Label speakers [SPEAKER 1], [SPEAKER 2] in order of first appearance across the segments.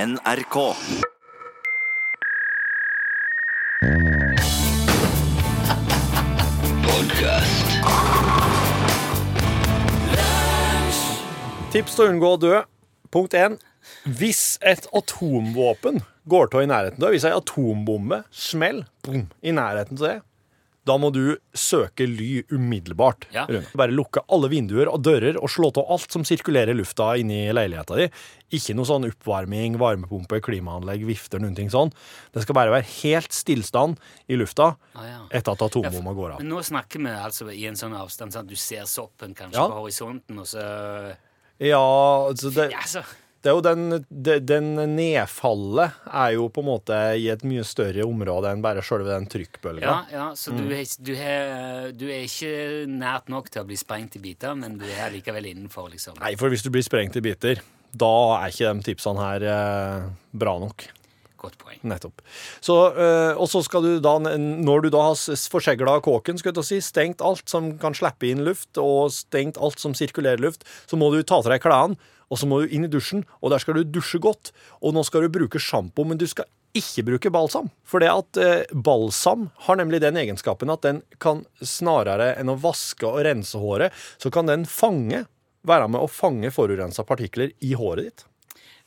[SPEAKER 1] NRK.
[SPEAKER 2] Tips til å unngå å dø. Punkt 1. Hvis et atomvåpen går til i nærheten av, hvis ei atombombe smell boom, i nærheten til det, da må du søke ly umiddelbart.
[SPEAKER 3] Ja.
[SPEAKER 2] Rune. Bare lukke alle vinduer og dører og slå av alt som sirkulerer lufta inni leiligheta di. Ikke noe sånn oppvarming, varmepumpe, klimaanlegg, vifter, noen ting sånn. Det skal bare være helt stillstand i lufta
[SPEAKER 3] Ah, ja.
[SPEAKER 2] etter at
[SPEAKER 3] Ja, for-
[SPEAKER 2] atombomba går av.
[SPEAKER 3] Men nå snakker vi altså i en sånn avstand, sånn at du ser soppen kanskje
[SPEAKER 2] Ja.
[SPEAKER 3] på horisonten, og så
[SPEAKER 2] Ja, altså det...
[SPEAKER 3] Ja, så
[SPEAKER 2] det er jo den, de- den nedfallet er jo på en måte i et mye større område enn bare selve den trykkbølga.
[SPEAKER 3] Ja, ja, så du, er, ikke- du, er, du er ikke nært nok til å bli sprengt i biter, men du er likevel innenfor, liksom.
[SPEAKER 2] Nei, for hvis du blir sprengt i biter, da er ikke de tipsene her eh, bra nok.
[SPEAKER 3] Godt poeng.
[SPEAKER 2] Nettopp. Så, eh, og så skal du da, når du da har s- forsegla kåken, skal jeg til å si, stengt alt som kan slippe inn luft, og stengt alt som sirkulerer luft, så må du ta til deg klærne, og så må du inn i dusjen, og der skal du dusje godt. Og nå skal du bruke sjampo, men du skal ikke bruke balsam. For det at eh, balsam har nemlig den egenskapen at den kan snarere enn å vaske og rense håret, så kan den fange, være med å fange forurensa partikler i håret ditt.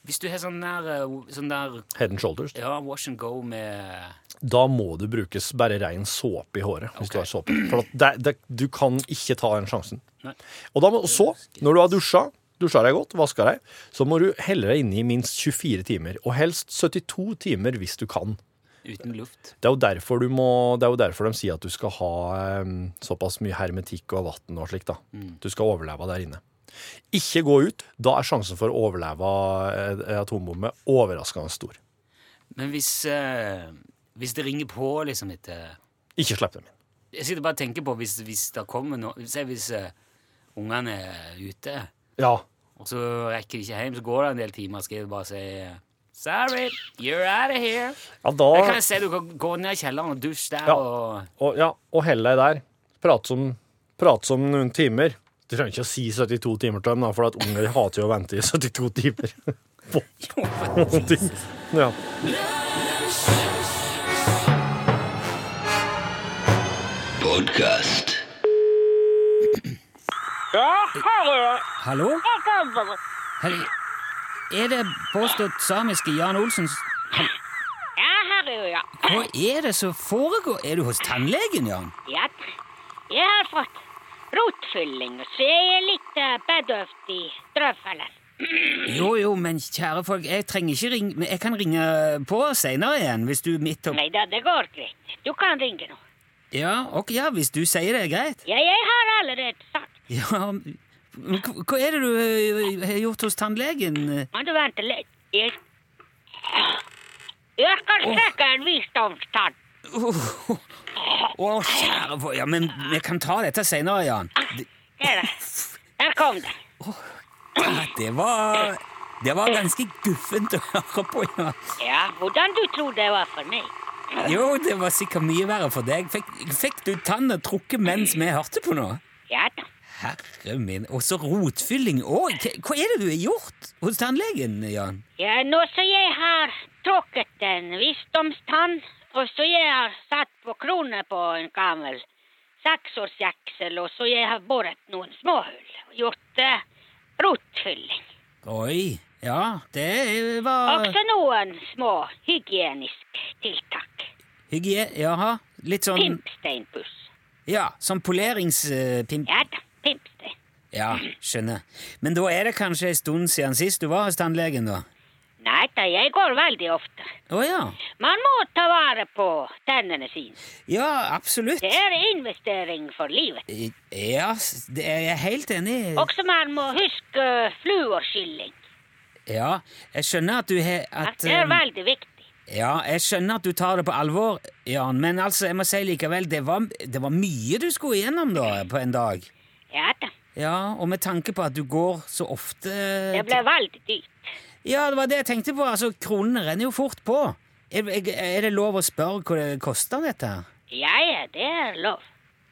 [SPEAKER 3] Hvis du har sånn der, eh, sånn der
[SPEAKER 2] Head and shoulders.
[SPEAKER 3] ja, wash and go med
[SPEAKER 2] da må det brukes bare ren såpe i håret. Hvis
[SPEAKER 3] Ok.
[SPEAKER 2] du har såpe. For at det, det, du kan ikke ta den sjansen.
[SPEAKER 3] Nei.
[SPEAKER 2] Og da må, og så, når du har dusja, dusja deg godt, vaska deg, så må du helle deg inne i minst 24 timer. Og helst 72 timer hvis du kan.
[SPEAKER 3] uten luft.
[SPEAKER 2] Det er jo derfor, du må, det er jo derfor de sier at du skal ha em, såpass mye hermetikk og vann og slikt. da.
[SPEAKER 3] Mm.
[SPEAKER 2] Du skal overleve der inne. Ikke gå ut. Da er sjansen for å overleve eh, atombombe overraskende stor.
[SPEAKER 3] Men hvis, eh, hvis det ringer på, liksom etter
[SPEAKER 2] Ikke slipp dem inn.
[SPEAKER 3] Jeg sitter bare og tenker på hvis, hvis det kommer noe Se hvis eh, ungene er ute,
[SPEAKER 2] Ja,
[SPEAKER 3] og så rekker de ikke hjem, så går det en del timer, skal jeg bare si eh, Sorry, you're out of here.
[SPEAKER 2] ja da...
[SPEAKER 3] Da kan jeg se du kan gå ned i kjelleren og dusje der
[SPEAKER 2] Ja.
[SPEAKER 3] og
[SPEAKER 2] og, ja, og hell deg der. Prate som, prate som noen timer. Du trenger ikke å si 72 timer til dem, da, for at unger hater jo å vente i 72 timer. på noen ting. Ja.
[SPEAKER 4] Ja, hallo.
[SPEAKER 3] Hallo?
[SPEAKER 4] Jeg kommer.
[SPEAKER 3] Hei. Er det påstått samiske Jan Olsens
[SPEAKER 4] Ja, hallo, ja.
[SPEAKER 3] Hva er det som foregår? Er du hos tannlegen, Jan?
[SPEAKER 4] Ja, jeg har fått rotfylling, så jeg er litt eh, bedøvd i drøvfellen.
[SPEAKER 3] Jo, jo, men kjære folk, jeg trenger ikke ringe men Jeg kan ringe på seinere igjen, hvis du midt opp
[SPEAKER 4] Nei da, det går greit. Du kan ringe nå.
[SPEAKER 3] Ja, ok, ja, hvis du sier det er greit.
[SPEAKER 4] Ja, jeg har allerede sagt.
[SPEAKER 3] Ja, men hva hva er det du ø, har gjort hos tannlegen?
[SPEAKER 4] Må du vente litt? Jeg, jeg skal stikke en visdomstann.
[SPEAKER 3] Å, kjære folk, ja, men vi kan ta dette seinere, Jan. Det-
[SPEAKER 4] Der, der kom den.
[SPEAKER 3] Ja, Ah, Det var Det var ganske guffent å høre på, ja.
[SPEAKER 4] Ja, hvordan du tror det var for meg?
[SPEAKER 3] Jo, det var sikkert mye verre for deg. Fikk, fikk du tanna trukket mens vi hørte på nå?
[SPEAKER 4] Ja da.
[SPEAKER 3] Herre min, og så rotfylling òg! Hva, hva er det du har gjort hos tannlegen, Jan?
[SPEAKER 4] Ja, nå så jeg har trukket en visdomstann, og så jeg har satt på kroner på en gammel seksårsjaksel, og så jeg har boret noen småhull og gjort eh, rotfylling.
[SPEAKER 3] Oi, ja, det var
[SPEAKER 4] Også noen små hygieniske tiltak.
[SPEAKER 3] Hygge... Jaha, litt sånn
[SPEAKER 4] Pimpsteinpuss.
[SPEAKER 3] Ja, sånn poleringspimp...
[SPEAKER 4] Ja da, pimpstein.
[SPEAKER 3] Ja, skjønner. Men da er det kanskje en stund siden sist du var hos tannlegen, da?
[SPEAKER 4] Nei da, jeg går veldig ofte.
[SPEAKER 3] Å ja.
[SPEAKER 4] Man må ta vare på tennene sine.
[SPEAKER 3] Ja, absolutt.
[SPEAKER 4] Det er investering for livet.
[SPEAKER 3] Ja, s- det er jeg helt enig i.
[SPEAKER 4] Også man må huske fluorskylling.
[SPEAKER 3] Ja, jeg skjønner at du har at,
[SPEAKER 4] Det er
[SPEAKER 3] um,
[SPEAKER 4] veldig viktig.
[SPEAKER 3] Ja, jeg skjønner at du tar det på alvor, Jan, men altså, jeg må si likevel, det var, det var mye du skulle igjennom da, på en dag.
[SPEAKER 4] Ja da.
[SPEAKER 3] Ja, og med tanke på at du går så ofte
[SPEAKER 4] Det ble veldig dyrt.
[SPEAKER 3] Ja, det var det jeg tenkte på, altså, kronene renner jo fort på. Er, er- er det lov å spørre hva det koster, dette? her?
[SPEAKER 4] Ja, ja, det er lov.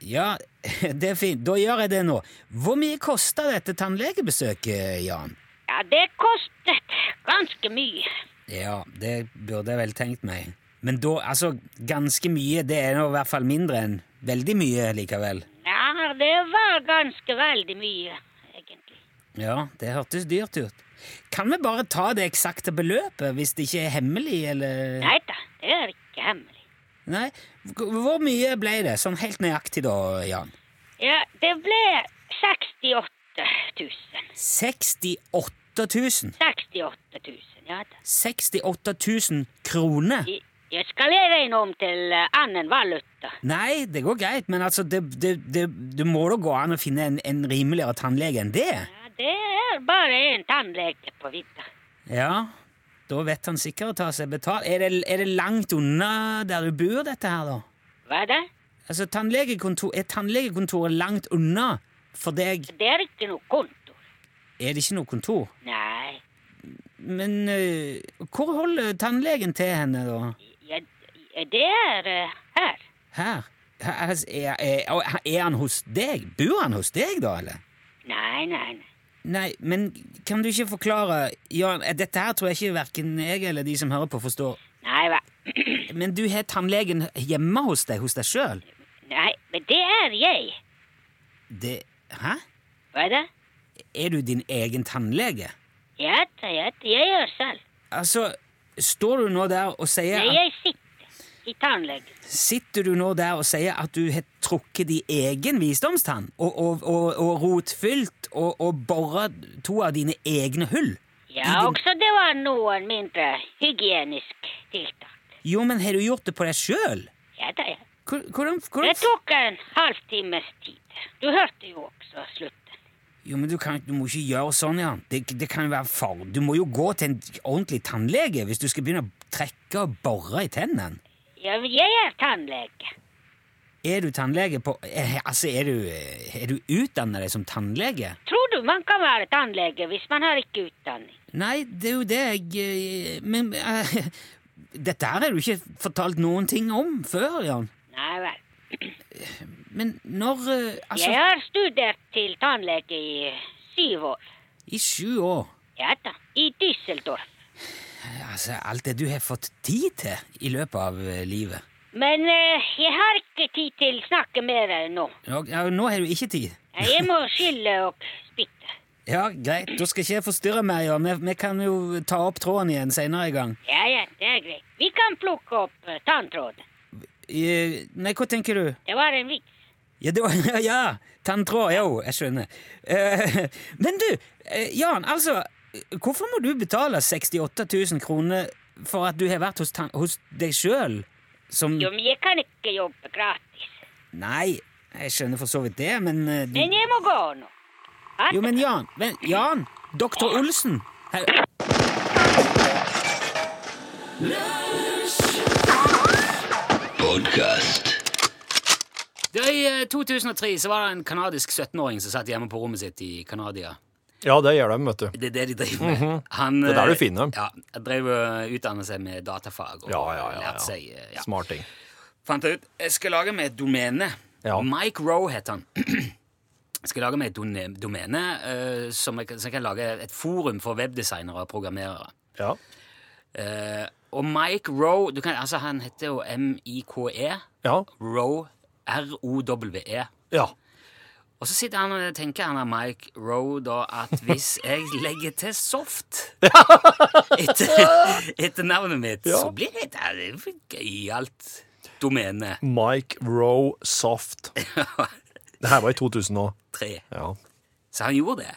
[SPEAKER 3] Ja, det er fint, da gjør jeg det nå. Hvor mye koster dette tannlegebesøket, Jan?
[SPEAKER 4] Ja, det kostet ganske mye.
[SPEAKER 3] Ja, det burde jeg vel tenkt meg. Men da, altså, ganske mye, det er nå i hvert fall mindre enn veldig mye likevel.
[SPEAKER 4] Ja, det var ganske veldig mye, egentlig.
[SPEAKER 3] Ja, det hørtes dyrt ut. Kan vi bare ta det eksakte beløpet, hvis det ikke er hemmelig, eller
[SPEAKER 4] Nei da, det er ikke hemmelig.
[SPEAKER 3] Nei. Hvor hvor mye ble det, sånn helt nøyaktig da, Jan?
[SPEAKER 4] Ja, det ble 68 000.
[SPEAKER 3] 68 000.
[SPEAKER 4] 68 000, ja da.
[SPEAKER 3] 68 000 kroner?
[SPEAKER 4] I- Jeg skal jeg regne om til eh, annen valuta.
[SPEAKER 3] Nei, det går greit, men altså, det, det, det, det må da gå an å finne en, en rimeligere tannlege enn det?
[SPEAKER 4] Ja, det er bare en tannlege på vidda.
[SPEAKER 3] Ja, da vet han sikkert å ta seg betalt. Er det, er det langt unna der du bor, dette her, da?
[SPEAKER 4] Hva da?
[SPEAKER 3] Altså, tannlegekontor, Er tannlegekontoret langt unna for deg?
[SPEAKER 4] Det er ikke noe konto.
[SPEAKER 3] Er det ikke noe kontor?
[SPEAKER 4] Nei,
[SPEAKER 3] Men eh, hvor holder tannlegen til henne, da?
[SPEAKER 4] jeg, jeg, det er eh, her.
[SPEAKER 3] Her? Her- altså, Er, er, er han hos deg? Bor han hos deg, da, eller?
[SPEAKER 4] Nei, nei, nei.
[SPEAKER 3] Nei, men kan du ikke forklare Jan, eh, dette her tror jeg ikke verken jeg eller de som hører på, forstår.
[SPEAKER 4] Nei, hva?
[SPEAKER 3] Men du har tannlegen hjemme hos deg, hos deg sjøl?
[SPEAKER 4] Nei, men det er jeg.
[SPEAKER 3] Det Hæ?
[SPEAKER 4] Hva da?
[SPEAKER 3] Er du din egen tannlege?
[SPEAKER 4] Ja da, ja da, jeg er selv.
[SPEAKER 3] Altså, står du nå der og sier at,
[SPEAKER 4] Nei, jeg sitter i tannlegen.
[SPEAKER 3] Sitter du nå der og sier at du har trukket din egen visdomstann og, og, og, og rotfylt og, og bora to av dine egne hull?
[SPEAKER 4] Ja,
[SPEAKER 3] I din-
[SPEAKER 4] også det var noen mindre hygienisk tiltak.
[SPEAKER 3] Jo, men har du gjort det på deg sjøl?
[SPEAKER 4] Ja da, ja.
[SPEAKER 3] Hvordan,
[SPEAKER 4] Det
[SPEAKER 3] hvordan
[SPEAKER 4] tok en halvtimes tid. Du hørte jo også slutten.
[SPEAKER 3] Jo, men du, kan, du må ikke gjøre sånn, Jan. Det, det kan jo være far. Du må jo gå til en ordentlig tannlege hvis du skal begynne å trekke og bore i tennene.
[SPEAKER 4] Ja, men jeg er tannlege.
[SPEAKER 3] Er du tannlege på eh, Altså, er du, eh, er du utdanna deg som tannlege?
[SPEAKER 4] Tror du man kan være tannlege hvis man har ikke utdanning?
[SPEAKER 3] Nei, det er jo det jeg eh, Men eh, Dette her har du ikke fortalt noen ting om før, Jan.
[SPEAKER 4] Nei vel.
[SPEAKER 3] Men når eh, Altså,
[SPEAKER 4] Jeg har studert til tannlege i syv år.
[SPEAKER 3] i sju år
[SPEAKER 4] Ja da, i Düsseldorf.
[SPEAKER 3] Altså, alt det du har fått tid til i løpet av eh, livet
[SPEAKER 4] Men eh, jeg har ikke tid til å snakke mer nå. Eh,
[SPEAKER 3] Nå- ja, Nå har du ikke tid.
[SPEAKER 4] Jeg må skylle og spytte.
[SPEAKER 3] Ja, greit. Da skal ikke jeg forstyrre mer, Jan. Vi, vi kan jo ta opp tråden igjen seinere i gang.
[SPEAKER 4] Ja, ja, det er greit. Vi kan plukke opp eh, tanntråden.
[SPEAKER 3] Eh, nei, hva tenker du?
[SPEAKER 4] Det var en vits.
[SPEAKER 3] Ja, det var, ja, ja. tanntråd, jo, jeg skjønner. Eh, men du, eh, Jan, altså, eh, hvorfor må du betale 68 000 kroner for at du har vært hos, tann- hos deg sjøl som
[SPEAKER 4] Jo, men jeg kan ikke jobbe gratis.
[SPEAKER 3] Nei, jeg skjønner for så vidt det, men eh, du,
[SPEAKER 4] Men jeg må gå nå. Ha
[SPEAKER 3] Jo, men Jan, men, Jan, doktor Olsen her,
[SPEAKER 5] Podcast.
[SPEAKER 6] I eh, 2003 så var det en kanadisk 17-åring som satt hjemme på rommet sitt i Kanadia.
[SPEAKER 2] Ja, det gjør de, vet du.
[SPEAKER 6] Det er det de driver med. Han,
[SPEAKER 2] Mhm. er der du
[SPEAKER 6] eh,
[SPEAKER 2] finner dem.
[SPEAKER 6] Ja, han drev og utdannet seg med datafag og
[SPEAKER 2] Ja, ja, ja, ja.
[SPEAKER 6] lærte seg eh, ja.
[SPEAKER 2] Smart ting.
[SPEAKER 6] Fant jeg ut jeg skal lage meg et domene.
[SPEAKER 2] Ja.
[SPEAKER 6] Mike Roe heter han. Jeg skal lage meg et done- domene eh, som jeg, kan- som jeg kan lage et forum for webdesignere og programmerere.
[SPEAKER 2] Ja.
[SPEAKER 6] Eh, og Mike Roe du kan, altså, Han heter jo M-I-K-E.
[SPEAKER 2] Ja.
[SPEAKER 6] Roe. R-O-W-E.
[SPEAKER 2] ja.
[SPEAKER 6] E. Og så sitter han og tenker han er Mike Rowe da at hvis jeg legger til soft etter, etter navnet mitt,
[SPEAKER 2] Ja.
[SPEAKER 6] så blir det et ja, det er et eh, gøyalt domene.
[SPEAKER 2] Mike Rowe Soft. Det her var i 2000 nå.
[SPEAKER 6] Tre.
[SPEAKER 2] Ja.
[SPEAKER 6] Så han gjorde det.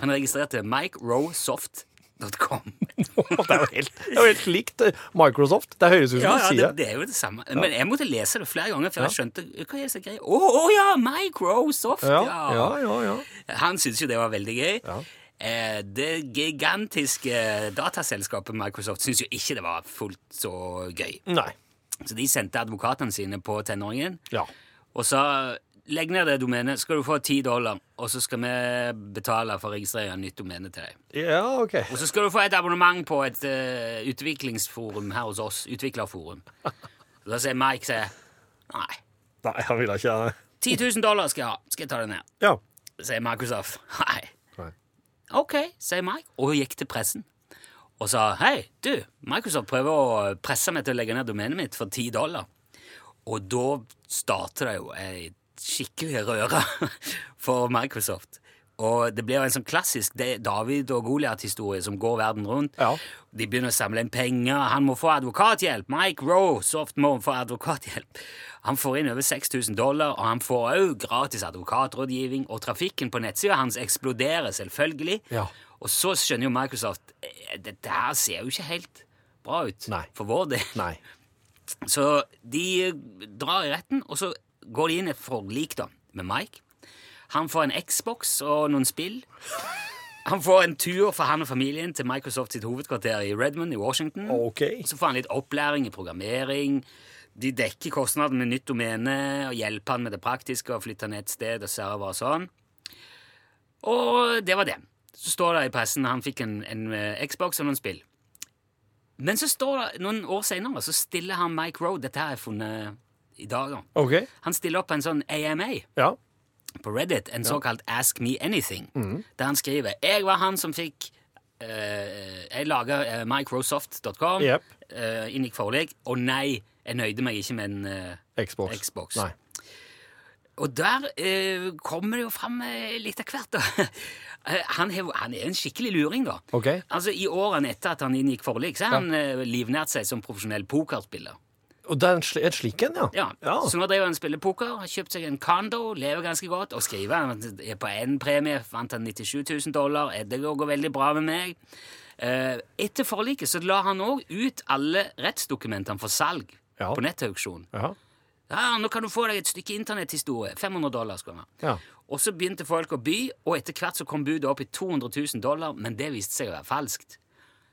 [SPEAKER 6] Han registrerte mikerowesoft.com.
[SPEAKER 2] Det er jo helt, det er jo helt likt eh, Microsoft. Det høres ut som
[SPEAKER 6] Ja,
[SPEAKER 2] ja,
[SPEAKER 6] ja,
[SPEAKER 2] sier
[SPEAKER 6] det, det er jo det samme. Men jeg måtte lese det flere ganger før jeg skjønte hva er det som er greia. Å å ja, Mike Rowe Soft,
[SPEAKER 2] Ja,
[SPEAKER 6] ja.
[SPEAKER 2] ja, ja, ja.
[SPEAKER 6] Han syntes jo det var veldig gøy.
[SPEAKER 2] Ja.
[SPEAKER 6] Eh, Det gigantiske dataselskapet Microsoft syntes jo ikke det var fullt så gøy.
[SPEAKER 2] Nei.
[SPEAKER 6] Så de sendte advokatene sine på tenåringen
[SPEAKER 2] Ja.
[SPEAKER 6] og sa legg ned det domenet, skal du få ti dollar, og så skal vi betale for å registrere et nytt domene til deg.
[SPEAKER 2] Ja, OK.
[SPEAKER 6] Og så skal du få et abonnement på et eh, utviklingsforum her hos oss. Utviklerforum. Og da sier Mike sier, nei.
[SPEAKER 2] Nei, han ville ikke det.
[SPEAKER 6] 10 000 dollar skal jeg ha. Skal jeg ta det ned?
[SPEAKER 2] Ja.
[SPEAKER 6] sier Microsoft. Nei.
[SPEAKER 2] Nei.
[SPEAKER 6] Ok, sier Mike, og hun gikk til pressen.
[SPEAKER 3] og sa hei, du, Microsoft prøver å presse meg til å legge ned domenet mitt for 10 dollar. Og da starter det jo ei skikkelig røre for Microsoft. Og det blir jo en sånn klassisk det- David og Goliat-historie som går verden rundt.
[SPEAKER 2] Ja.
[SPEAKER 3] De begynner å samle inn penger. Han må få advokathjelp. Mike Roe, soft må få advokathjelp. Han får inn over 6000 dollar, og han får òg gratis advokatrådgivning. Og trafikken på nettsida hans eksploderer, selvfølgelig.
[SPEAKER 2] Ja.
[SPEAKER 3] Og så skjønner jo Microsoft eh, dette her ser jo ikke helt bra ut
[SPEAKER 2] Nei.
[SPEAKER 3] for vår del.
[SPEAKER 2] Nei.
[SPEAKER 3] Så de eh, drar i retten, og så går de inn i et forlik da, med Mike. Han får en Xbox og noen spill. Han får en tur for han og familien til Microsoft sitt hovedkvarter i Redmond i Washington.
[SPEAKER 2] OK.
[SPEAKER 3] Så får han litt opplæring i programmering. De dekker kostnaden med nytt domene og hjelper han med det praktiske og flytter ned et sted og server og sånn. Og det var det. Så står det i pressen han fikk en, en eh, Xbox og noen spill. Men så står det noen år senere, så stiller han Mike Rowe Dette har jeg funnet i dag. da.
[SPEAKER 2] OK.
[SPEAKER 3] Han stiller opp en sånn AMA
[SPEAKER 2] Ja.
[SPEAKER 3] på Reddit, en såkalt Ask Me Anything,
[SPEAKER 2] Mhm.
[SPEAKER 3] der han skriver Jeg var han som fikk eh, Jeg laga microsoft.com,
[SPEAKER 2] Jep.
[SPEAKER 3] eh, inngikk forlik, og nei, jeg nøyde meg ikke med en eh,
[SPEAKER 2] Xbox.
[SPEAKER 3] Xbox.
[SPEAKER 2] Nei.
[SPEAKER 3] Og der eh, kommer det jo fram eh, litt av hvert, da. Eh, han, er, jo- han er en skikkelig luring, da.
[SPEAKER 2] OK.
[SPEAKER 3] Altså, I årene etter at han inngikk forlik, så har han eh, livnært seg som profesjonell pokerspiller.
[SPEAKER 2] Og det er en, sli, en slik en, ja.
[SPEAKER 3] Ja, Så nå driver han og spiller poker, har kjøpt seg en condo, lever ganske godt og skriver. Han er på én premie, vant han 97 000 dollar. eh, Det går veldig bra med meg. Eh, Etter forliket så la han òg ut alle rettsdokumentene for salg
[SPEAKER 2] Ja.
[SPEAKER 3] på nettauksjon.
[SPEAKER 2] Ja.
[SPEAKER 3] Ja, 'Nå kan du få deg et stykke internetthistorie.' 500 dollar skulle han ha.
[SPEAKER 2] Ja.
[SPEAKER 3] Og så begynte folk å by, og etter hvert så kom budet opp i 200 000 dollar, men det viste seg å være falskt.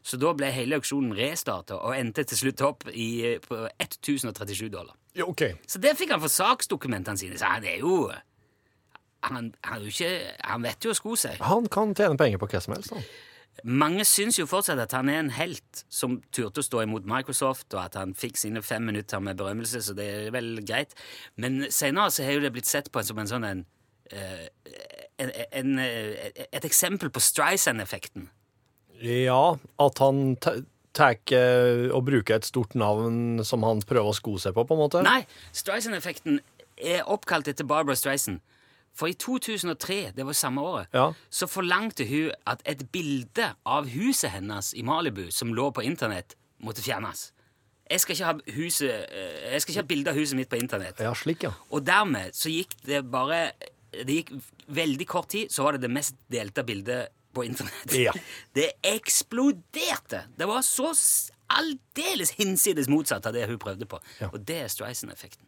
[SPEAKER 3] Så da ble hele auksjonen restarta og endte til slutt opp i, eh, på 1037 dollar.
[SPEAKER 2] ja OK.
[SPEAKER 3] Så der fikk han for saksdokumentene sine, så han er jo han, han, er jo ikke, han vet jo å sko seg.
[SPEAKER 2] Han kan tjene penger på hva som helst, han.
[SPEAKER 3] Mange syns jo fortsatt at han er en helt som turte å stå imot Microsoft, og at han fikk sine fem minutter med berømmelse, så det er vel greit. Men senere så har jo det blitt sett på som en sånn en, eh, en, en, eh, Et eksempel på Streisand-effekten.
[SPEAKER 2] Ja, at han ta- tar eh, og bruker et stort navn som han prøver å sko seg på, på en måte?
[SPEAKER 3] Nei, Streisand-effekten er oppkalt etter Barbara Streisand. For i 2003, det var samme året,
[SPEAKER 2] Ja.
[SPEAKER 3] så forlangte hun at et bilde av huset hennes i Malibu som lå på internett, måtte fjernes. Jeg skal ikke ha, huset, eh, jeg skal ikke ha bilde av huset mitt på internett.
[SPEAKER 2] Ja, slik, ja.
[SPEAKER 3] Og dermed så gikk det bare Det gikk veldig kort tid, så var det det mest delte bildet på internett.
[SPEAKER 2] Ja.
[SPEAKER 3] Det eksploderte! Det var så s- aldeles hinsides motsatt av det hun prøvde på.
[SPEAKER 2] Ja.
[SPEAKER 3] Og det er Streisand-effekten.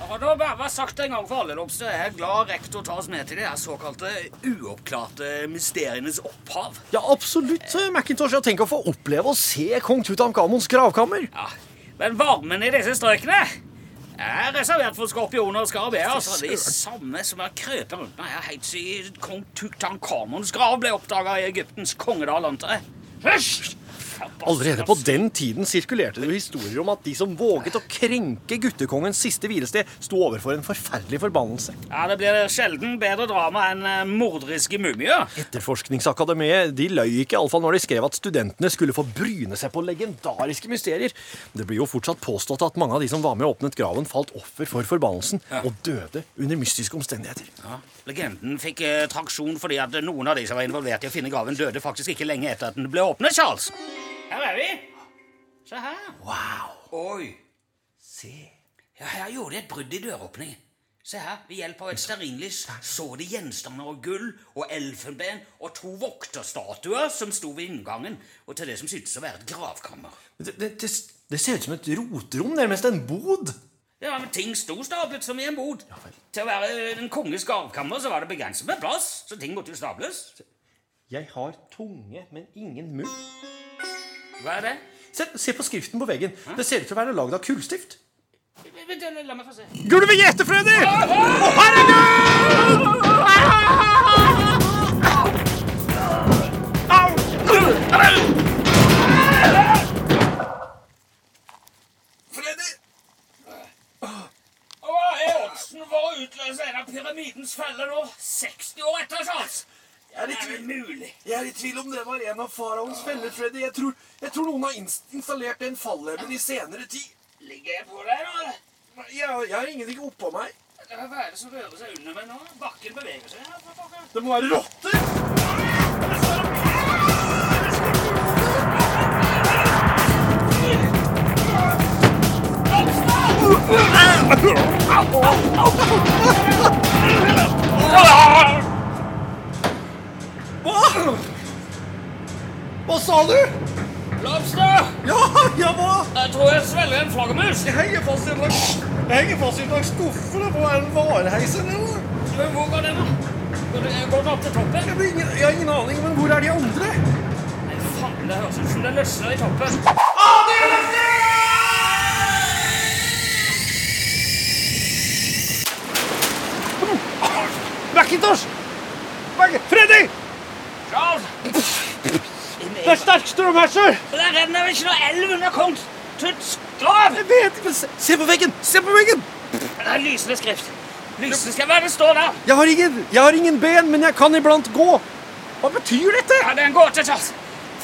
[SPEAKER 3] Har da bare sagt en gang for alle dere, så er jeg glad rektor tar oss med til de her såkalte uoppklarte mysterienes opphav.
[SPEAKER 2] Ja, absolutt, eh, Macintosh. Jeg tenker å få oppleve å se kong Tutankhamons gravkammer.
[SPEAKER 3] Ja, men varmen i disse strøkene er reservert for skorpioner og skarabæer. Altså, de samme som har krøpet rundt meg her helt siden kong Tutankhamons grav ble oppdaga i Egyptens kongedal, antar jeg. Hysj!
[SPEAKER 2] Allerede på den tiden sirkulerte det jo historier om at de som våget å krenke guttekongens siste hvilested, sto overfor en forferdelig forbannelse.
[SPEAKER 3] Ja, Det blir sjelden bedre drama enn eh, morderiske mumier.
[SPEAKER 2] Etterforskningsakademiet de løy ikke, iallfall når de skrev at studentene skulle få bryne seg på legendariske mysterier. Det blir jo fortsatt påstått at mange av de som var med og åpnet graven, falt offer for forbannelsen og døde under mystiske omstendigheter.
[SPEAKER 3] Ja, Legenden fikk eh, traksjon fordi at noen av de som var involvert i å finne graven, døde faktisk ikke lenge etter at den ble åpnet, Charles. Her er vi. Se her.
[SPEAKER 2] Wow!
[SPEAKER 3] Oi.
[SPEAKER 2] Se.
[SPEAKER 3] Ja, her gjorde de et brudd i døråpningen. Se her, ved hjelp av et stearinlys så de gjenstander av gull og elfenben og to vokterstatuer som sto ved inngangen og til det som syntes å være et gravkammer.
[SPEAKER 2] Det, det, det, det ser ut som et roterom, nærmest en bod.
[SPEAKER 3] Ja, men ting sto stablet som i en bod. Til å være eh, en konges gravkammer så var det begrenset med plass, så ting måtte jo stables.
[SPEAKER 2] Jeg har tunge, men ingen munn.
[SPEAKER 3] Hva er det?
[SPEAKER 2] Se, se på skriften på veggen. Det ser ut til å være lagd av kullstift.
[SPEAKER 3] Vent, La la meg få se.
[SPEAKER 2] Gulvet gjeter, Freddy!
[SPEAKER 3] utløse en av pyramidens feller nå, 60 år etter Charles. Det er ikke mulig.
[SPEAKER 1] Jeg er i tvil om det var en av faraoens feller, Freddy. Jeg tror, jeg tror noen har inst- installert den falleben i senere tid.
[SPEAKER 3] Ligger jeg på der nå? eller?
[SPEAKER 1] Nei, Jeg, har- jeg har ingenting oppå meg.
[SPEAKER 3] Eller Hva er det som rører seg under meg nå? Bakken beveger seg. Ja, for pokker.
[SPEAKER 1] Det må være rotter!
[SPEAKER 2] Hva? Hva sa du?
[SPEAKER 3] Lobster!
[SPEAKER 2] Ja, ja, hva?
[SPEAKER 3] Jeg tror jeg svelger en flaggermus.
[SPEAKER 2] Jeg henger fast i en slags, jeg henger fast i en slags skuffe. Det må være en vareheis eller noe.
[SPEAKER 3] Men Hvor går den, da? Går den- Går den opp til toppen?
[SPEAKER 2] Jeg har ingen, jeg har ingen aning, men hvor er de andre?
[SPEAKER 3] Nei, faen, det høres ut som det løsner i toppen.
[SPEAKER 2] Macintosh! Mac- Freddy!
[SPEAKER 3] Charles!
[SPEAKER 2] Det er sterk strøm her, sir!
[SPEAKER 3] Der renner vel ikke noe elv under kong Tuts grav?
[SPEAKER 2] Jeg vet ikke, men se, se på veggen! Se på veggen!
[SPEAKER 3] Det er lysende skrift. Lysende skrift, Hva er det står der?
[SPEAKER 2] Jeg har ingen, jeg har ingen ben, men jeg kan iblant gå. Hva betyr dette?
[SPEAKER 3] Ja, det er en gåte, Charles.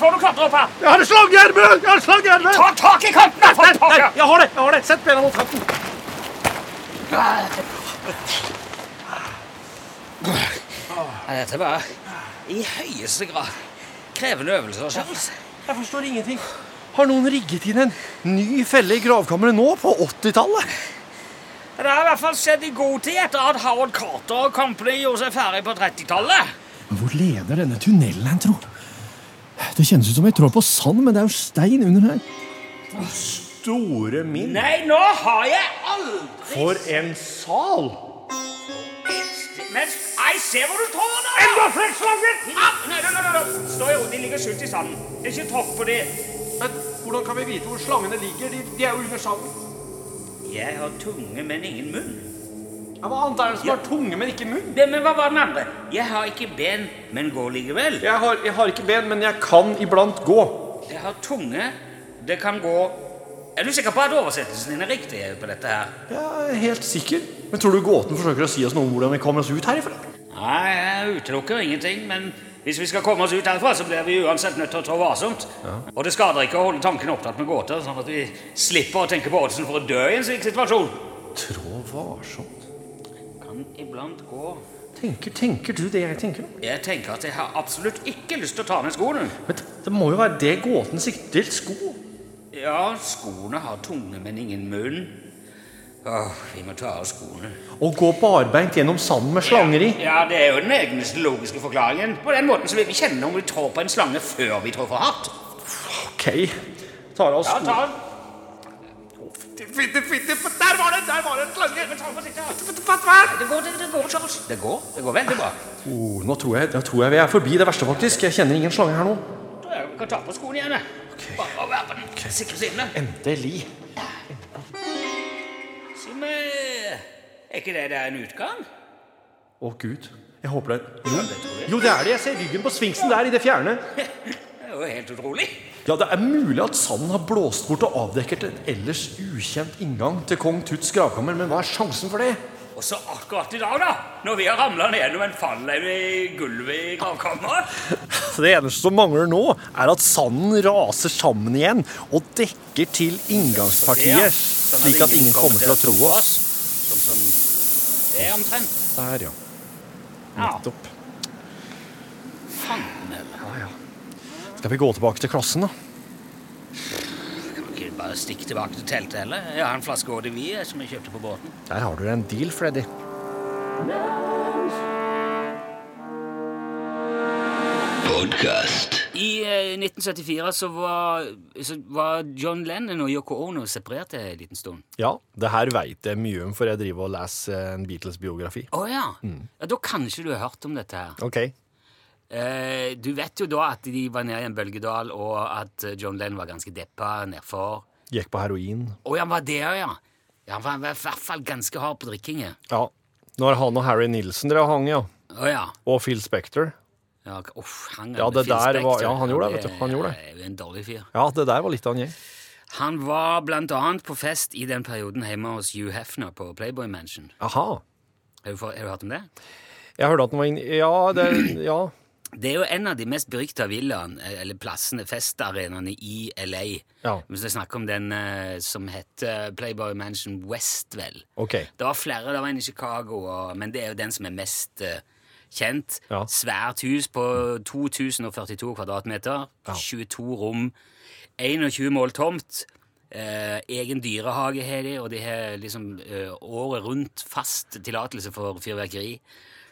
[SPEAKER 3] Får du klatre opp her?
[SPEAKER 2] Jeg har en slangeerme! Jeg har en slangeerme!
[SPEAKER 3] Ta tak i kanten! her, for
[SPEAKER 2] Nei,
[SPEAKER 3] pokker!
[SPEAKER 2] jeg har det! jeg har det. Sett bena mot kanten.
[SPEAKER 3] Ja, dette var i høyeste grad krevende øvelser, Charles.
[SPEAKER 2] Jeg forstår ingenting. Har noen rigget inn en ny felle i gravkammeret nå, på 80-tallet?
[SPEAKER 3] Det har i hvert fall skjedd i god tid etter at Howard Carter og Company gjorde seg ferdig på 30-tallet.
[SPEAKER 7] Hvor leder denne tunnelen hen, tro? Det kjennes ut som jeg trår på sand, men det er jo stein under her.
[SPEAKER 2] Store min.
[SPEAKER 3] Nei, nå har jeg aldri
[SPEAKER 2] For en sal!
[SPEAKER 3] Men jeg ser hvor du tår nå! Enda flere slanger! Nei, nei, nei, nei. Stå i ro, de ligger skjult i sanden. Det er ikke tråkk på de.
[SPEAKER 1] Men hvordan kan vi vite hvor slangene ligger? De, de er jo under sanden.
[SPEAKER 3] Jeg har tunge, men ingen munn.
[SPEAKER 1] Ja, hva annet er det som har tunge, men ikke munn?
[SPEAKER 3] Det, men hva var den andre? Jeg har ikke ben, men går likevel.
[SPEAKER 1] Jeg har, jeg har ikke ben, men jeg kan iblant gå.
[SPEAKER 3] Jeg har tunge, det kan gå... Er du sikker på at oversettelsen din er riktig på dette her?
[SPEAKER 2] Jeg er helt sikker. Men tror du gåten forsøker å si oss noe om hvordan vi kommer oss ut herifra?
[SPEAKER 3] Nei, jeg utelukker ingenting, men hvis vi skal komme oss ut herfra, så blir vi uansett nødt til å trå varsomt. Og det skader ikke å holde tankene opptatt med gåter, sånn at vi slipper å tenke på oddsen for å dø i en slik situasjon.
[SPEAKER 2] Trå varsomt.
[SPEAKER 3] Kan iblant gå.
[SPEAKER 2] Tenker, tenker du det jeg tenker nå?
[SPEAKER 3] Jeg tenker at jeg har absolutt ikke lyst til å ta ned skoene.
[SPEAKER 2] Men det må jo være det gåten sikter til. Sko.
[SPEAKER 3] Ja, skoene har tunge, men ingen munn. Åh, vi må ta av skoene.
[SPEAKER 2] Å gå barbeint gjennom sanden med slanger i.
[SPEAKER 3] Ja, det er jo den eneste logiske forklaringen. På den måten så vil vi kjenne om vi trår på en slange før vi trår for hardt.
[SPEAKER 2] Ok. Tar av
[SPEAKER 3] Ja,
[SPEAKER 2] sko.
[SPEAKER 3] ta den. Der var det! Der var det en slange! Det går, det, det går, Charles. Det går, det går veldig bra.
[SPEAKER 2] Oh, nå tror jeg, nå tror jeg vi er forbi det verste, faktisk. Jeg kjenner ingen slanger her nå.
[SPEAKER 3] Da er det- Vi kan ta på skoene igjen. jeg. Bare være på den sikre siden. jeg.
[SPEAKER 2] Endelig.
[SPEAKER 3] Så, men, Er ikke det der en utgang?
[SPEAKER 2] Å, gud. Jeg håper det Jo, jo det er det. Jeg ser ryggen på sfinksen der i det fjerne.
[SPEAKER 3] Det er jo helt utrolig.
[SPEAKER 2] Ja, det er mulig at sanden har blåst bort og avdekket en ellers ukjent inngang til kong Tuts gravkammer, men hva er sjansen for det?
[SPEAKER 3] Og så akkurat i dag, da, når vi har ramla ned gjennom en fallheim i gulvet i gravkammeret
[SPEAKER 2] Det eneste som mangler nå, er at sanden raser sammen igjen og dekker til inngangspartiet, slik sånn at ingen kommer til å tro oss.
[SPEAKER 3] Sånn som det er omtrent.
[SPEAKER 2] Der, ja.
[SPEAKER 3] Ja,
[SPEAKER 2] Nettopp.
[SPEAKER 3] fanden heller.
[SPEAKER 2] Skal vi gå tilbake til klassen, da?
[SPEAKER 3] Kan vi ikke bare stikke tilbake til teltet heller? Jeg har en flaske eau de vie som jeg kjøpte på båten.
[SPEAKER 2] Der har du en deal, Freddy.
[SPEAKER 3] I eh, 1974 så var, så var John Lennon og Yoko Ono separerte en liten stund.
[SPEAKER 2] Ja, det her veit jeg mye om, for jeg driver og leser eh, en Beatles-biografi.
[SPEAKER 3] Å ja.
[SPEAKER 2] Mm.
[SPEAKER 3] ja! Da kanskje du har hørt om dette her.
[SPEAKER 2] Ok.
[SPEAKER 3] Eh, du vet jo da at de var nede i en bølgedal, og at eh, John Lennon var ganske deppa nedfor.
[SPEAKER 2] Gikk på heroin.
[SPEAKER 3] Å, han var det, ja. ja. Han var, var i hvert fall ganske hard på drikkingen.
[SPEAKER 2] Ja. Når han og Harry Nilsen drev og hang, ja.
[SPEAKER 3] Å ja.
[SPEAKER 2] Og Phil Spector.
[SPEAKER 3] ja k- uff, han
[SPEAKER 2] Ja, det
[SPEAKER 3] Phil
[SPEAKER 2] der
[SPEAKER 3] Spector,
[SPEAKER 2] var- ja, han gjorde det, vet du. Han gjorde det.
[SPEAKER 3] er jo Eh, En dårlig fyr.
[SPEAKER 2] Ja, det der var litt av en gjeng.
[SPEAKER 3] Han var blant annet på fest i den perioden hjemme hos Hugh Hefner på Playboy Mansion.
[SPEAKER 2] Aha.
[SPEAKER 3] Har du, for, har du hørt om det?
[SPEAKER 2] Jeg hørte at den var inn... Ja, det, ja.
[SPEAKER 3] Det er jo en av de mest berykta villaene, eh, eller plassene, festarenaene i LA.
[SPEAKER 2] Ja.
[SPEAKER 3] Hvis jeg snakker om den eh, som heter Playboy Mansion West, vel.
[SPEAKER 2] OK.
[SPEAKER 3] Det var flere, det var en i Chicago, og, men det er jo den som er mest eh, kjent.
[SPEAKER 2] Ja.
[SPEAKER 3] Svært hus på 2042 kvadratmeter, 22 rom, 21 mål tomt. Eh, egen dyrehage har de, og de har liksom eh, året rundt fast tillatelse for fyrverkeri.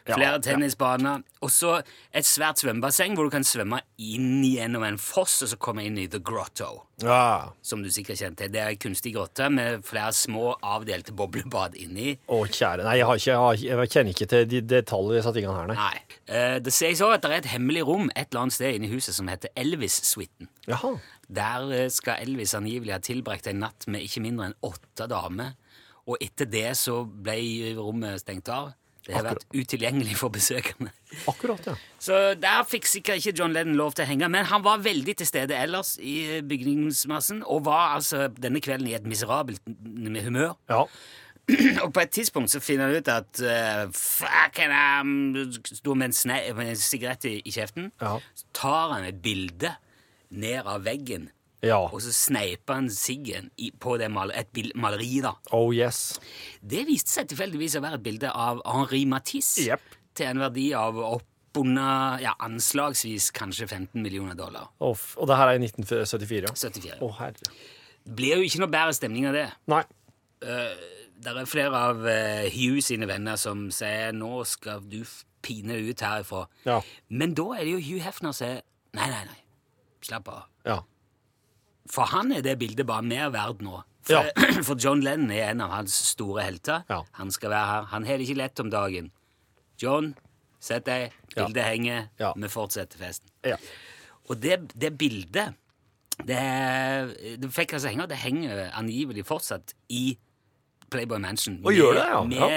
[SPEAKER 3] Flere tennisbaner. Og så et svært svømmebasseng hvor du kan svømme inn gjennom en foss og så komme inn i The Grotto
[SPEAKER 2] Ja.
[SPEAKER 3] som du sikkert kjente. Det er en kunstig grotte med flere små avdelte boblebad inni.
[SPEAKER 2] Å, kjære. Nei, jeg, har ikke, jeg, har, ikke- jeg kjenner ikke til de detaljer i disse tingene her, nei.
[SPEAKER 3] Nei. Eh, det sies òg at det er et hemmelig rom et eller annet sted inni huset som heter Elvis-suiten.
[SPEAKER 2] Jaha.
[SPEAKER 3] Der eh, skal Elvis angivelig ha tilbrakt en natt med ikke mindre enn åtte damer. Og etter det så ble rommet stengt av. Det har vært utilgjengelig for besøkende.
[SPEAKER 2] Akkurat, ja.
[SPEAKER 3] Så der fikk sikkert ikke John Lennon lov til å henge, men han var veldig til stede ellers i eh, bygningsmassen, og var altså denne kvelden i et miserabelt n- humør.
[SPEAKER 2] ja.
[SPEAKER 3] Og på et tidspunkt så finner han ut at uh, Fucking um, Sto med en, sne, med en sigarett i, i kjeften.
[SPEAKER 2] Ja.
[SPEAKER 3] Så tar han et bilde ned av veggen,
[SPEAKER 2] Ja.
[SPEAKER 3] og så sneiper han siggen i, på det mal, et bil, maleri. da.
[SPEAKER 2] Oh yes.
[SPEAKER 3] Det viste seg tilfeldigvis å være et bilde av Henri Matisse
[SPEAKER 2] Jepp.
[SPEAKER 3] til en verdi av oppunder ja, anslagsvis kanskje 15 millioner dollar.
[SPEAKER 2] Og, f og det her er i 1974, ja.
[SPEAKER 3] 74.
[SPEAKER 2] Å, herre.
[SPEAKER 3] Det blir jo ikke noe bedre stemning av det.
[SPEAKER 2] Nei.
[SPEAKER 3] Det er flere av eh, Hugh sine venner som sier nå skal du f- pine deg ut herifra.
[SPEAKER 2] Ja.
[SPEAKER 3] Men da er det jo Hugh Hefner som sier nei, nei, nei, slapp av.
[SPEAKER 2] Ja.
[SPEAKER 3] For han er det bildet bare mer verdt nå. For,
[SPEAKER 2] Ja.
[SPEAKER 3] for John Lennon er en av hans store helter.
[SPEAKER 2] Ja.
[SPEAKER 3] Han skal være her. Han har det ikke lett om dagen. John, sett deg.
[SPEAKER 2] Ja.
[SPEAKER 3] Bildet henger.
[SPEAKER 2] Ja.
[SPEAKER 3] Vi fortsetter festen.
[SPEAKER 2] Ja.
[SPEAKER 3] Og det, det bildet det, det fikk altså henge, og det henger angivelig fortsatt i Playboy Mansion.
[SPEAKER 2] Og gjør det, ja.
[SPEAKER 3] Med,
[SPEAKER 2] Ja.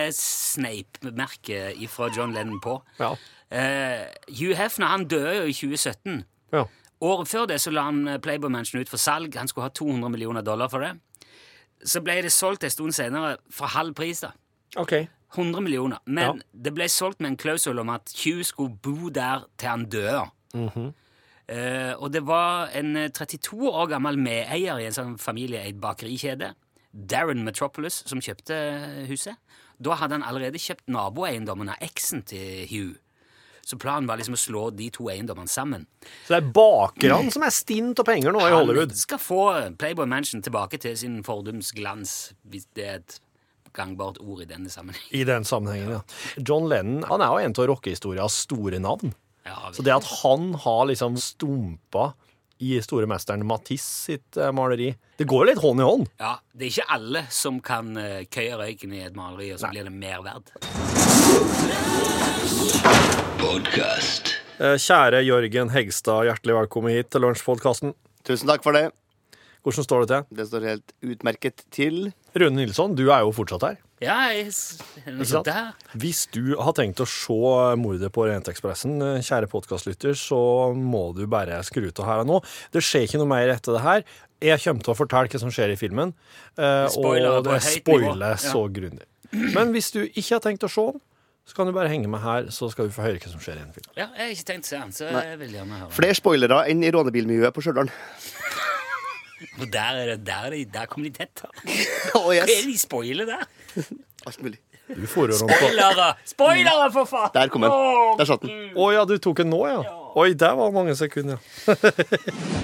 [SPEAKER 3] med sneipmerket fra John Lennon på.
[SPEAKER 2] Ja.
[SPEAKER 3] Eh, Hugh Hefner han døde jo i 2017.
[SPEAKER 2] Ja.
[SPEAKER 3] Året før det så la han eh, Playboy Mansion ut for salg. Han skulle ha 200 millioner dollar for det. Så ble det solgt en stund senere for halv pris. da.
[SPEAKER 2] OK.
[SPEAKER 3] 100 millioner. Men
[SPEAKER 2] Ja.
[SPEAKER 3] det ble solgt med en klausul om at Hugh skulle bo der til han døde.
[SPEAKER 2] Mhm.
[SPEAKER 3] Eh, og det var en eh, 32 år gammel medeier i en sånn familieeid bakerikjede, Darren Metropolis, som kjøpte eh, huset. Da hadde han allerede kjøpt naboeiendommen av eksen til Hugh. Så planen var liksom å slå de to eiendommene sammen.
[SPEAKER 2] Så det er bakerne som er stint av penger nå i Hollywood?
[SPEAKER 3] Han skal få Playboy Mansion tilbake til sin fordums glans, hvis det er et gangbart ord i denne sammenheng.
[SPEAKER 2] I den sammenhengen, ja. John Lennon han er jo en av rockehistorias store navn.
[SPEAKER 3] Ja,
[SPEAKER 2] Så det at han har liksom stumpa i storemesteren Matisse sitt eh, maleri Det går jo litt hånd i hånd.
[SPEAKER 3] Ja, det er ikke alle som kan eh, køye røyken i et maleri, og så blir det mer verd.
[SPEAKER 2] Eh, Kjære Jørgen Hegstad, hjertelig velkommen hit til Lunsjpodkasten.
[SPEAKER 8] Tusen takk for det.
[SPEAKER 2] Hvordan står det til?
[SPEAKER 8] Det står helt utmerket til.
[SPEAKER 2] Rune Nilsson, du er jo fortsatt her.
[SPEAKER 3] Ja, jeg, s- noe
[SPEAKER 2] sant?
[SPEAKER 3] sånt der.
[SPEAKER 2] Hvis du har tenkt å se mordet på Orientekspressen, eh, kjære podkastlytter, så må du bare skru av her og nå. Det skjer ikke noe mer etter det her. Jeg kommer til å fortelle hva som skjer i filmen. eh,
[SPEAKER 3] Spoiler
[SPEAKER 2] og
[SPEAKER 3] på
[SPEAKER 2] det
[SPEAKER 3] høyt nivå.
[SPEAKER 2] spoiler så grundig. Men hvis du ikke har tenkt å se den, så kan du bare henge med her, så skal du få høre hva som skjer i den filmen.
[SPEAKER 3] Ja, jeg har ikke tenkt å se den, så jeg vil gjerne høre.
[SPEAKER 8] Flere spoilere enn i rånebilmiljøet på Stjørdal.
[SPEAKER 3] Og der, er det, der, er de, der kom de tett. Hva
[SPEAKER 8] Oh,
[SPEAKER 3] er
[SPEAKER 8] yes.
[SPEAKER 3] de spoiler der?
[SPEAKER 8] Alt mulig.
[SPEAKER 2] Du får jo rundt på
[SPEAKER 3] Spoilere! Spoilere, for faen!
[SPEAKER 8] Der kom den. Der satt den.
[SPEAKER 2] Å ja, du tok den nå, ja? Oi, der var mange sekunder, ja.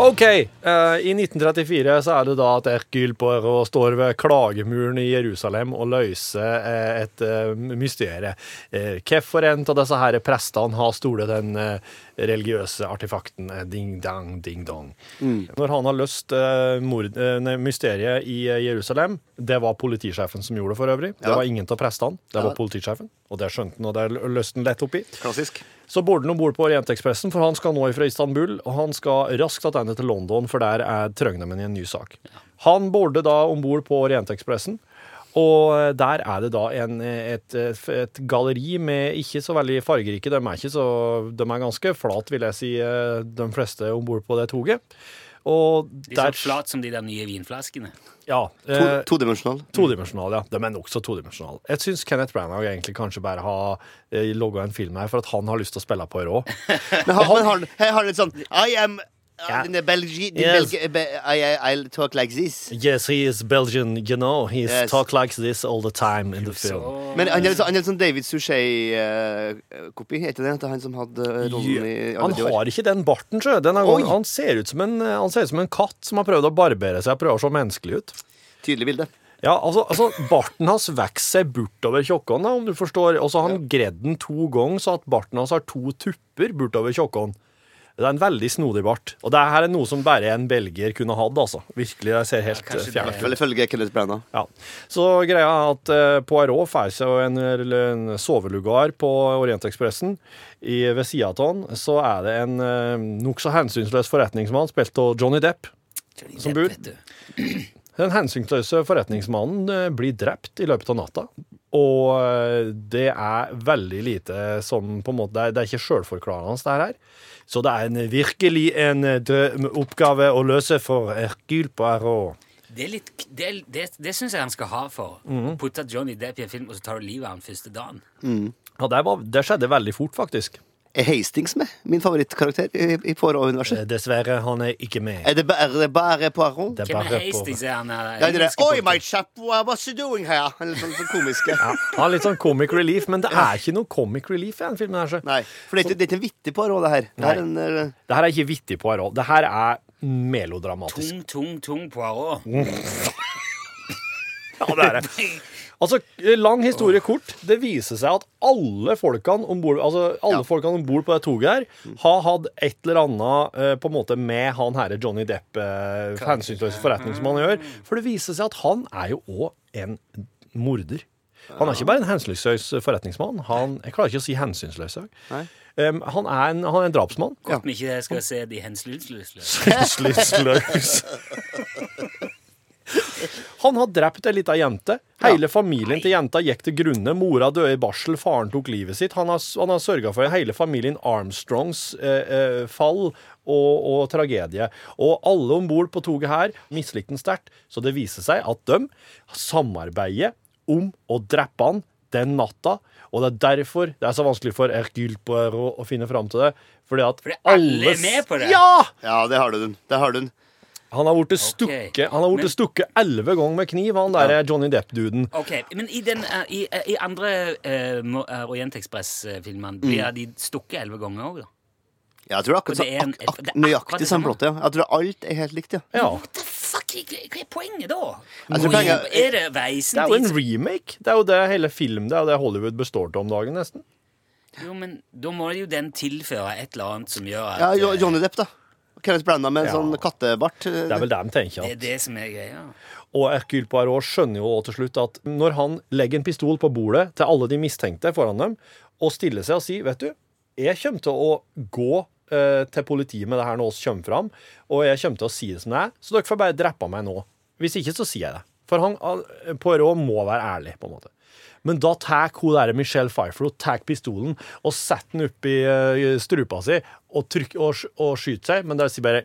[SPEAKER 2] OK. eh, I 1934 så er det da at Erkyl Poirot står ved klagemuren i Jerusalem og løser eh, et eh, mysterium. Eh, Hvorfor en av disse her prestene har stolet den eh, religiøse artefakten eh, ding-dang, ding-dong? Når han har løst eh, mord, eh, nei, mysteriet i eh, Jerusalem Det var politisjefen som gjorde det, for øvrig. Det
[SPEAKER 8] Ja.
[SPEAKER 2] var ingen av prestene. Det var politisjefen, og det skjønte han, og det løste han lett opp i.
[SPEAKER 8] Klassisk.
[SPEAKER 2] Så border han om bord på Orientekspressen, for han skal nå ifra Istanbul, og han skal raskt tilbake til London, for for der er Trøgnemmen i en ny sak. Han bordet da om bord på Orientekspressen, og der er det da en, et, et galleri med ikke så veldig fargerike, de er, ikke så, de er ganske flat, vil jeg si, eh, de fleste om bord på det toget. Og
[SPEAKER 3] De er
[SPEAKER 2] der,
[SPEAKER 3] så flat som de der nye vinflaskene.
[SPEAKER 2] ja,
[SPEAKER 8] To,
[SPEAKER 2] eh,
[SPEAKER 8] todimensjonal.
[SPEAKER 2] Todimensjonal, ja. De er nokså todimensjonale. Jeg syns Kenneth Branagh egentlig kanskje bare har eh, logga en film her for at han har lyst til å spille på rå.
[SPEAKER 8] Men har, men har, jeg har litt sånn I am
[SPEAKER 2] Ja.
[SPEAKER 8] uh, in the Belgi, the
[SPEAKER 2] Yes.
[SPEAKER 8] Belgi, be, I, I, I'll talk like this.
[SPEAKER 2] Yes, he is Belgian, you know. He
[SPEAKER 8] Yes. talk
[SPEAKER 2] like this all the time in the
[SPEAKER 3] Så
[SPEAKER 8] Men han er litt sånn- han er litt sånn David Suchet-kopi. er ikke det? At det er han som hadde eh, rollen i
[SPEAKER 2] Han
[SPEAKER 8] alle de år?
[SPEAKER 2] har ikke den barten, sjø. Den er,
[SPEAKER 8] Oi.
[SPEAKER 2] han, ser ut som en, eh, han ser ut som en katt som har prøvd å barbere seg og prøver å se menneskelig ut.
[SPEAKER 8] Tydelig bilde.
[SPEAKER 2] Ja, altså, altså Barten hans vokser seg bortover kjokken, da, om du forstår. Og så har han gredd den to ganger, så at barten hans har to tupper bortover kjokken. Det er en veldig snodig bart. Og det her er noe som bare en belgier kunne hatt. altså. Virkelig, jeg ser helt eh,
[SPEAKER 3] kanskje
[SPEAKER 2] fjern ut.
[SPEAKER 8] Vel, ifølge Kenneth Branagh.
[SPEAKER 2] Ja. Så greia er at eh, Poirot får seg jo en, en sovelugar på Orientekspressen. I, ved sida av han så er det en eh, nokså hensynsløs forretningsmann, spilt av Johnny Depp. Som bur.
[SPEAKER 3] Vet du.
[SPEAKER 2] Den hensynsløse forretningsmannen eh, blir drept i løpet av natta. Og eh, det er veldig lite som på en måte, Det er, det er ikke sjølforklarende, det her. Så det er en, virkelig en eh, drø- oppgave å løse for Hercule Poirot.
[SPEAKER 3] Det, er litt, det, er- det, det syns jeg han skal ha for.
[SPEAKER 8] Mhm.
[SPEAKER 3] Putte Johnny Depp i en film, og så tar du livet av han første dagen.
[SPEAKER 2] Ja, det, var, det skjedde veldig fort, faktisk.
[SPEAKER 8] Er Hastings med? Min favorittkarakter i, i Poirot-universet.
[SPEAKER 2] Eh, Dessverre, han er ikke med.
[SPEAKER 8] Er det bare, er det bare Poirot?
[SPEAKER 2] Det er
[SPEAKER 3] Hvem er
[SPEAKER 2] bare
[SPEAKER 3] Hastings?
[SPEAKER 2] på.
[SPEAKER 3] Er han er,
[SPEAKER 8] Ja, det er det. Oi, my chap, what's you doing here? Han er Litt sånn, sånn komiske.
[SPEAKER 2] Han har litt sånn comic relief, men det er ikke noe comic relief i den filmen. her. så.
[SPEAKER 8] Nei, for det er ikke, det er ikke en vittig Poirot, det her. Det
[SPEAKER 2] Nei.
[SPEAKER 8] er en, eh,
[SPEAKER 2] Det her er ikke vittig på her òg. Det her er melodramatisk.
[SPEAKER 3] Tung, tung, tung Poirot.
[SPEAKER 2] Ja, det er det. Altså, Lang historie kort. Det viser seg at alle folkene om bord altså, alle folkene ombord på det toget her har hatt et eller annet eh, på en måte med han herre Johnny Depp, eh, hensynsløse forretningsmann, å gjøre. For det viser seg at han er jo òg en morder. Han er ikke bare en hensynsløs forretningsmann. Han, jeg klarer ikke å si hensynsløs. jeg.
[SPEAKER 8] Nei.
[SPEAKER 2] Um, han, er en, han er en drapsmann.
[SPEAKER 3] Godt vi ikke skal se de hensynsløse.
[SPEAKER 2] Hensynsløs. Han har drept ei lita jente. Hele familien til jenta gikk til grunne. Mora døde i barsel, faren tok livet sitt. Han har, han har sørga for hele familien Armstrongs eh, eh, fall og, og tragedie. Og alle om bord på toget her mislikte han sterkt, så det viser seg at de samarbeider om å drepe han den natta. Og det er derfor det er så vanskelig for Hercule Poirot å finne fram til det. Fordi at
[SPEAKER 3] Fordi alle er med på det.
[SPEAKER 2] Ja!
[SPEAKER 8] ja, det har du den. Det har du den.
[SPEAKER 2] Han har blitt stukket Han har blitt
[SPEAKER 3] Men-
[SPEAKER 2] stukket elleve ganger med kniv, han der Johnny Depp-duden.
[SPEAKER 3] Ok, Men i, den, eh, i, eh, i andre uh, Orientekspress-filmene blir de stukket elleve ganger òg, da?
[SPEAKER 8] Ja, jeg tror det er
[SPEAKER 3] Og
[SPEAKER 8] akkurat,
[SPEAKER 3] det er en-
[SPEAKER 8] sånn- ak,
[SPEAKER 3] det
[SPEAKER 8] ak,
[SPEAKER 3] er akkurat
[SPEAKER 8] nøyaktig
[SPEAKER 3] det
[SPEAKER 8] samme
[SPEAKER 3] samme.
[SPEAKER 8] plott. Ja. Jeg tror alt er helt likt, ja.
[SPEAKER 2] Ja.
[SPEAKER 3] The fuck, hva hva er poenget da?
[SPEAKER 8] Jeg tror poenget-
[SPEAKER 3] er det
[SPEAKER 2] Det
[SPEAKER 3] veisen
[SPEAKER 2] er jo en
[SPEAKER 3] dit?
[SPEAKER 2] remake. Det er jo det hele film, det er jo det Hollywood består av om dagen, nesten.
[SPEAKER 3] Jo, men Da må jo den tilføre et eller annet som gjør at
[SPEAKER 8] ja Jo-
[SPEAKER 3] eh,
[SPEAKER 8] Johnny Depp, da. Kenneth Branagh med en
[SPEAKER 2] Ja.
[SPEAKER 8] sånn kattebart.
[SPEAKER 2] Det er vel det de tenker.
[SPEAKER 3] eh, det er
[SPEAKER 2] At.
[SPEAKER 3] det som er greia.
[SPEAKER 2] Og Hercule Poirot skjønner jo også til slutt at når han legger en pistol på bordet til alle de mistenkte foran dem, og stiller seg og sier, vet du, jeg kommer til å gå eh, til politiet med det her når oss kommer fram, og jeg kommer til å si det som det er, så dere får bare drepe meg nå. Hvis ikke, så sier jeg det. For han, han- Poirot må være ærlig, på en måte. Men da tar hun der Michelle Pfeiffer hun tar pistolen og setter den opp i eh, strupa si og, trykker- og, sk- og skyter seg. Men det sier bare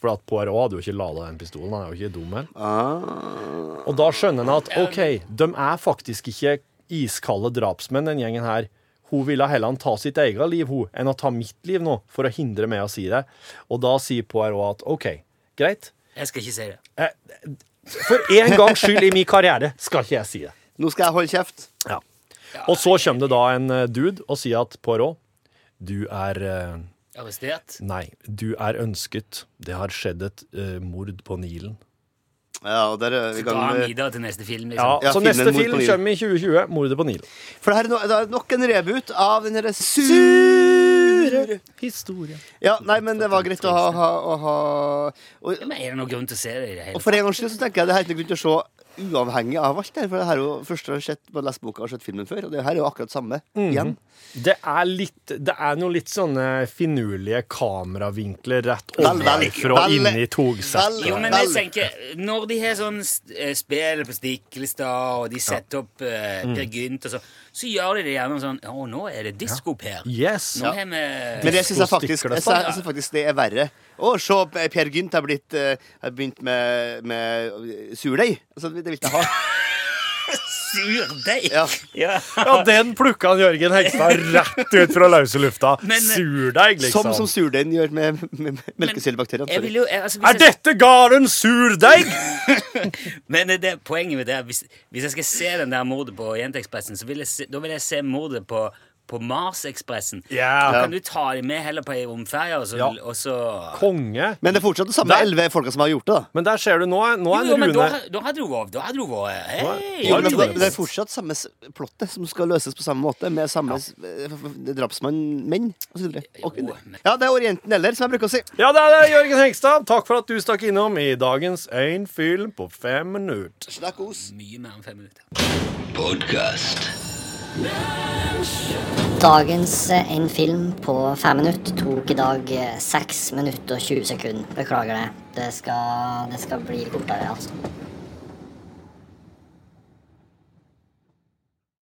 [SPEAKER 2] For at Poirot hadde jo ikke lada den pistolen. Han er jo ikke dum heller. Og da skjønner han at OK, de er faktisk ikke iskalde drapsmenn, den gjengen her. Hun ville heller ta sitt eget liv hun, enn å ta mitt liv nå, for å hindre meg å si det. Og da sier Poirot at OK, greit.
[SPEAKER 3] Jeg skal ikke si det.
[SPEAKER 2] Eh, For en gangs skyld i min karriere skal ikke jeg si det.
[SPEAKER 8] Nå skal jeg holde kjeft.
[SPEAKER 2] Ja. Og så kommer det da en eh, dude og sier at Poirot, du er eh,
[SPEAKER 3] Arrestert.
[SPEAKER 2] Nei, du er ønsket. Det har skjedd et eh, mord på Nilen.
[SPEAKER 8] Ja, og der er vi i
[SPEAKER 3] Da
[SPEAKER 8] gang
[SPEAKER 3] er han
[SPEAKER 8] med
[SPEAKER 3] videre til neste film.
[SPEAKER 2] Ja,
[SPEAKER 3] Liksom.
[SPEAKER 8] Ja,
[SPEAKER 2] Så
[SPEAKER 8] filmen
[SPEAKER 2] neste
[SPEAKER 8] Mord på
[SPEAKER 2] film
[SPEAKER 8] Nilen.
[SPEAKER 2] kommer i 2020. 'Mordet på Nilen'.
[SPEAKER 8] For det her er, no, det er nok en reboot av den derre sure
[SPEAKER 2] Historie.
[SPEAKER 8] Ja, nei, men det var greit å ha, ha, å ha og,
[SPEAKER 3] Men er det noen grunn til å se det i det hele
[SPEAKER 8] og for en gangs skyld så tenker jeg det er helt grunn til å se uavhengig av alt det her. For det her er jo først har jeg sett, bare lest boka og sett filmen før, og det her er jo akkurat samme igjen.
[SPEAKER 2] Mhm. Det er, litt, det er noen litt sånne finurlige kameravinkler rett
[SPEAKER 8] Vel, vel,
[SPEAKER 2] ovenfra
[SPEAKER 8] vel,
[SPEAKER 2] inn i togsettet.
[SPEAKER 8] vel,
[SPEAKER 3] Jo, men jeg
[SPEAKER 8] vel.
[SPEAKER 3] tenker, når de har sånn st- eh, spill på Stiklestad, og de setter opp eh, Per Gynt og så, så gjør de det gjerne sånn Å, nå er det disko, Per.
[SPEAKER 2] Yes.
[SPEAKER 3] Nå har vi
[SPEAKER 8] Men det syns jeg
[SPEAKER 2] Disko
[SPEAKER 8] faktisk,
[SPEAKER 2] stikker det
[SPEAKER 8] jeg
[SPEAKER 2] seg.
[SPEAKER 8] synes faktisk det er verre. Å, se, Per Gynt har blitt eh, har begynt med, med surdeig. Altså, det vil ikke jeg ha.
[SPEAKER 3] surdeig!
[SPEAKER 8] Ja.
[SPEAKER 2] Liksom. Ja, den plukka han Jørgen Hegstad rett ut fra løse lufta.
[SPEAKER 3] Men- eh,
[SPEAKER 2] Surdeig, liksom.
[SPEAKER 8] Som, som surdeigen gjør med, med, med melkesyrebakteriene.
[SPEAKER 3] Jeg
[SPEAKER 8] sorry.
[SPEAKER 3] vil jo, jeg, altså, hvis
[SPEAKER 2] Er
[SPEAKER 3] jeg-
[SPEAKER 2] dette garden surdeig?
[SPEAKER 3] Men det, det, poenget med det er hvis, hvis jeg skal se den der mordet på Jenteekspressen, så vil jeg se, da vil jeg se mordet på, på Marsekspressen.
[SPEAKER 2] Ja.
[SPEAKER 3] Da Kan du ta dem med heller på ei romferje, og så,
[SPEAKER 2] Ja.
[SPEAKER 3] og så
[SPEAKER 2] Konge.
[SPEAKER 8] Men det er fortsatt de samme
[SPEAKER 2] Nei.
[SPEAKER 8] elleve folka som har gjort det, da.
[SPEAKER 2] Men der ser du, nå er, nå er
[SPEAKER 3] Jo, men da,
[SPEAKER 2] Rune
[SPEAKER 3] da hadde du vært Da hadde du vært hei,
[SPEAKER 8] Jo, men
[SPEAKER 3] da
[SPEAKER 8] det,
[SPEAKER 3] hadde du
[SPEAKER 8] det er
[SPEAKER 3] vært-
[SPEAKER 8] fortsatt samme s- plottet som skal løses på samme måte, med samme s- eh, f- f- drapsmann, menn osv.
[SPEAKER 3] Jo, men-
[SPEAKER 8] Ja, det er Orienten eller, som jeg bruker å si.
[SPEAKER 2] Ja, det er det, Jørgen Hegstad. Takk for at du stakk innom i dagens Én film på fem minutter.
[SPEAKER 8] Snakkos.
[SPEAKER 3] Mye mer enn fem minutter.
[SPEAKER 9] Dagens eh, en film på fem minutter tok i dag eh, seks minutter og 20 sekunder. Beklager det. Det skal, det skal bli kortere, altså.